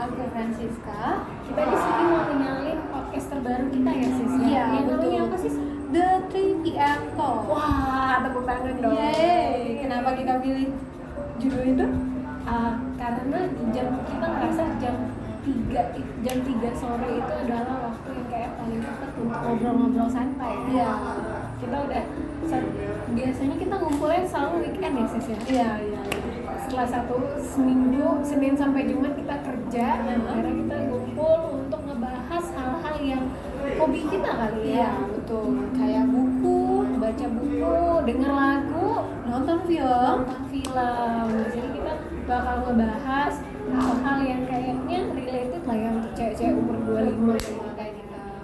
Angga Francisca. Kita di sini mau kenalin podcast terbaru kita ya sis. ya? Iya, Yang betul. namanya apa sis? The 3 PM Talk. Wah, tepuk tangan dong. Yeay, kenapa kita pilih judul itu? Ah, karena di jam kita ngerasa jam 3 i- jam 3 sore itu adalah waktu yang kayak paling tepat untuk ngobrol-ngobrol santai. Iya. Kita udah sa- biasanya kita ngumpulnya selalu weekend ya sis ya. Iya, iya. Setelah satu seminggu Senin sampai Jumat kita kerja, nah, Mhm. akhirnya kita ngumpul untuk ngebahas hal-hal yang hobi kita kali ya. Iya, betul. Kayak buku, baca buku, denger lagu, nonton film. nonton film. Jadi kita bakal ngebahas hal-hal yang kayaknya related lah ya untuk cewek-cewek umur 25 sama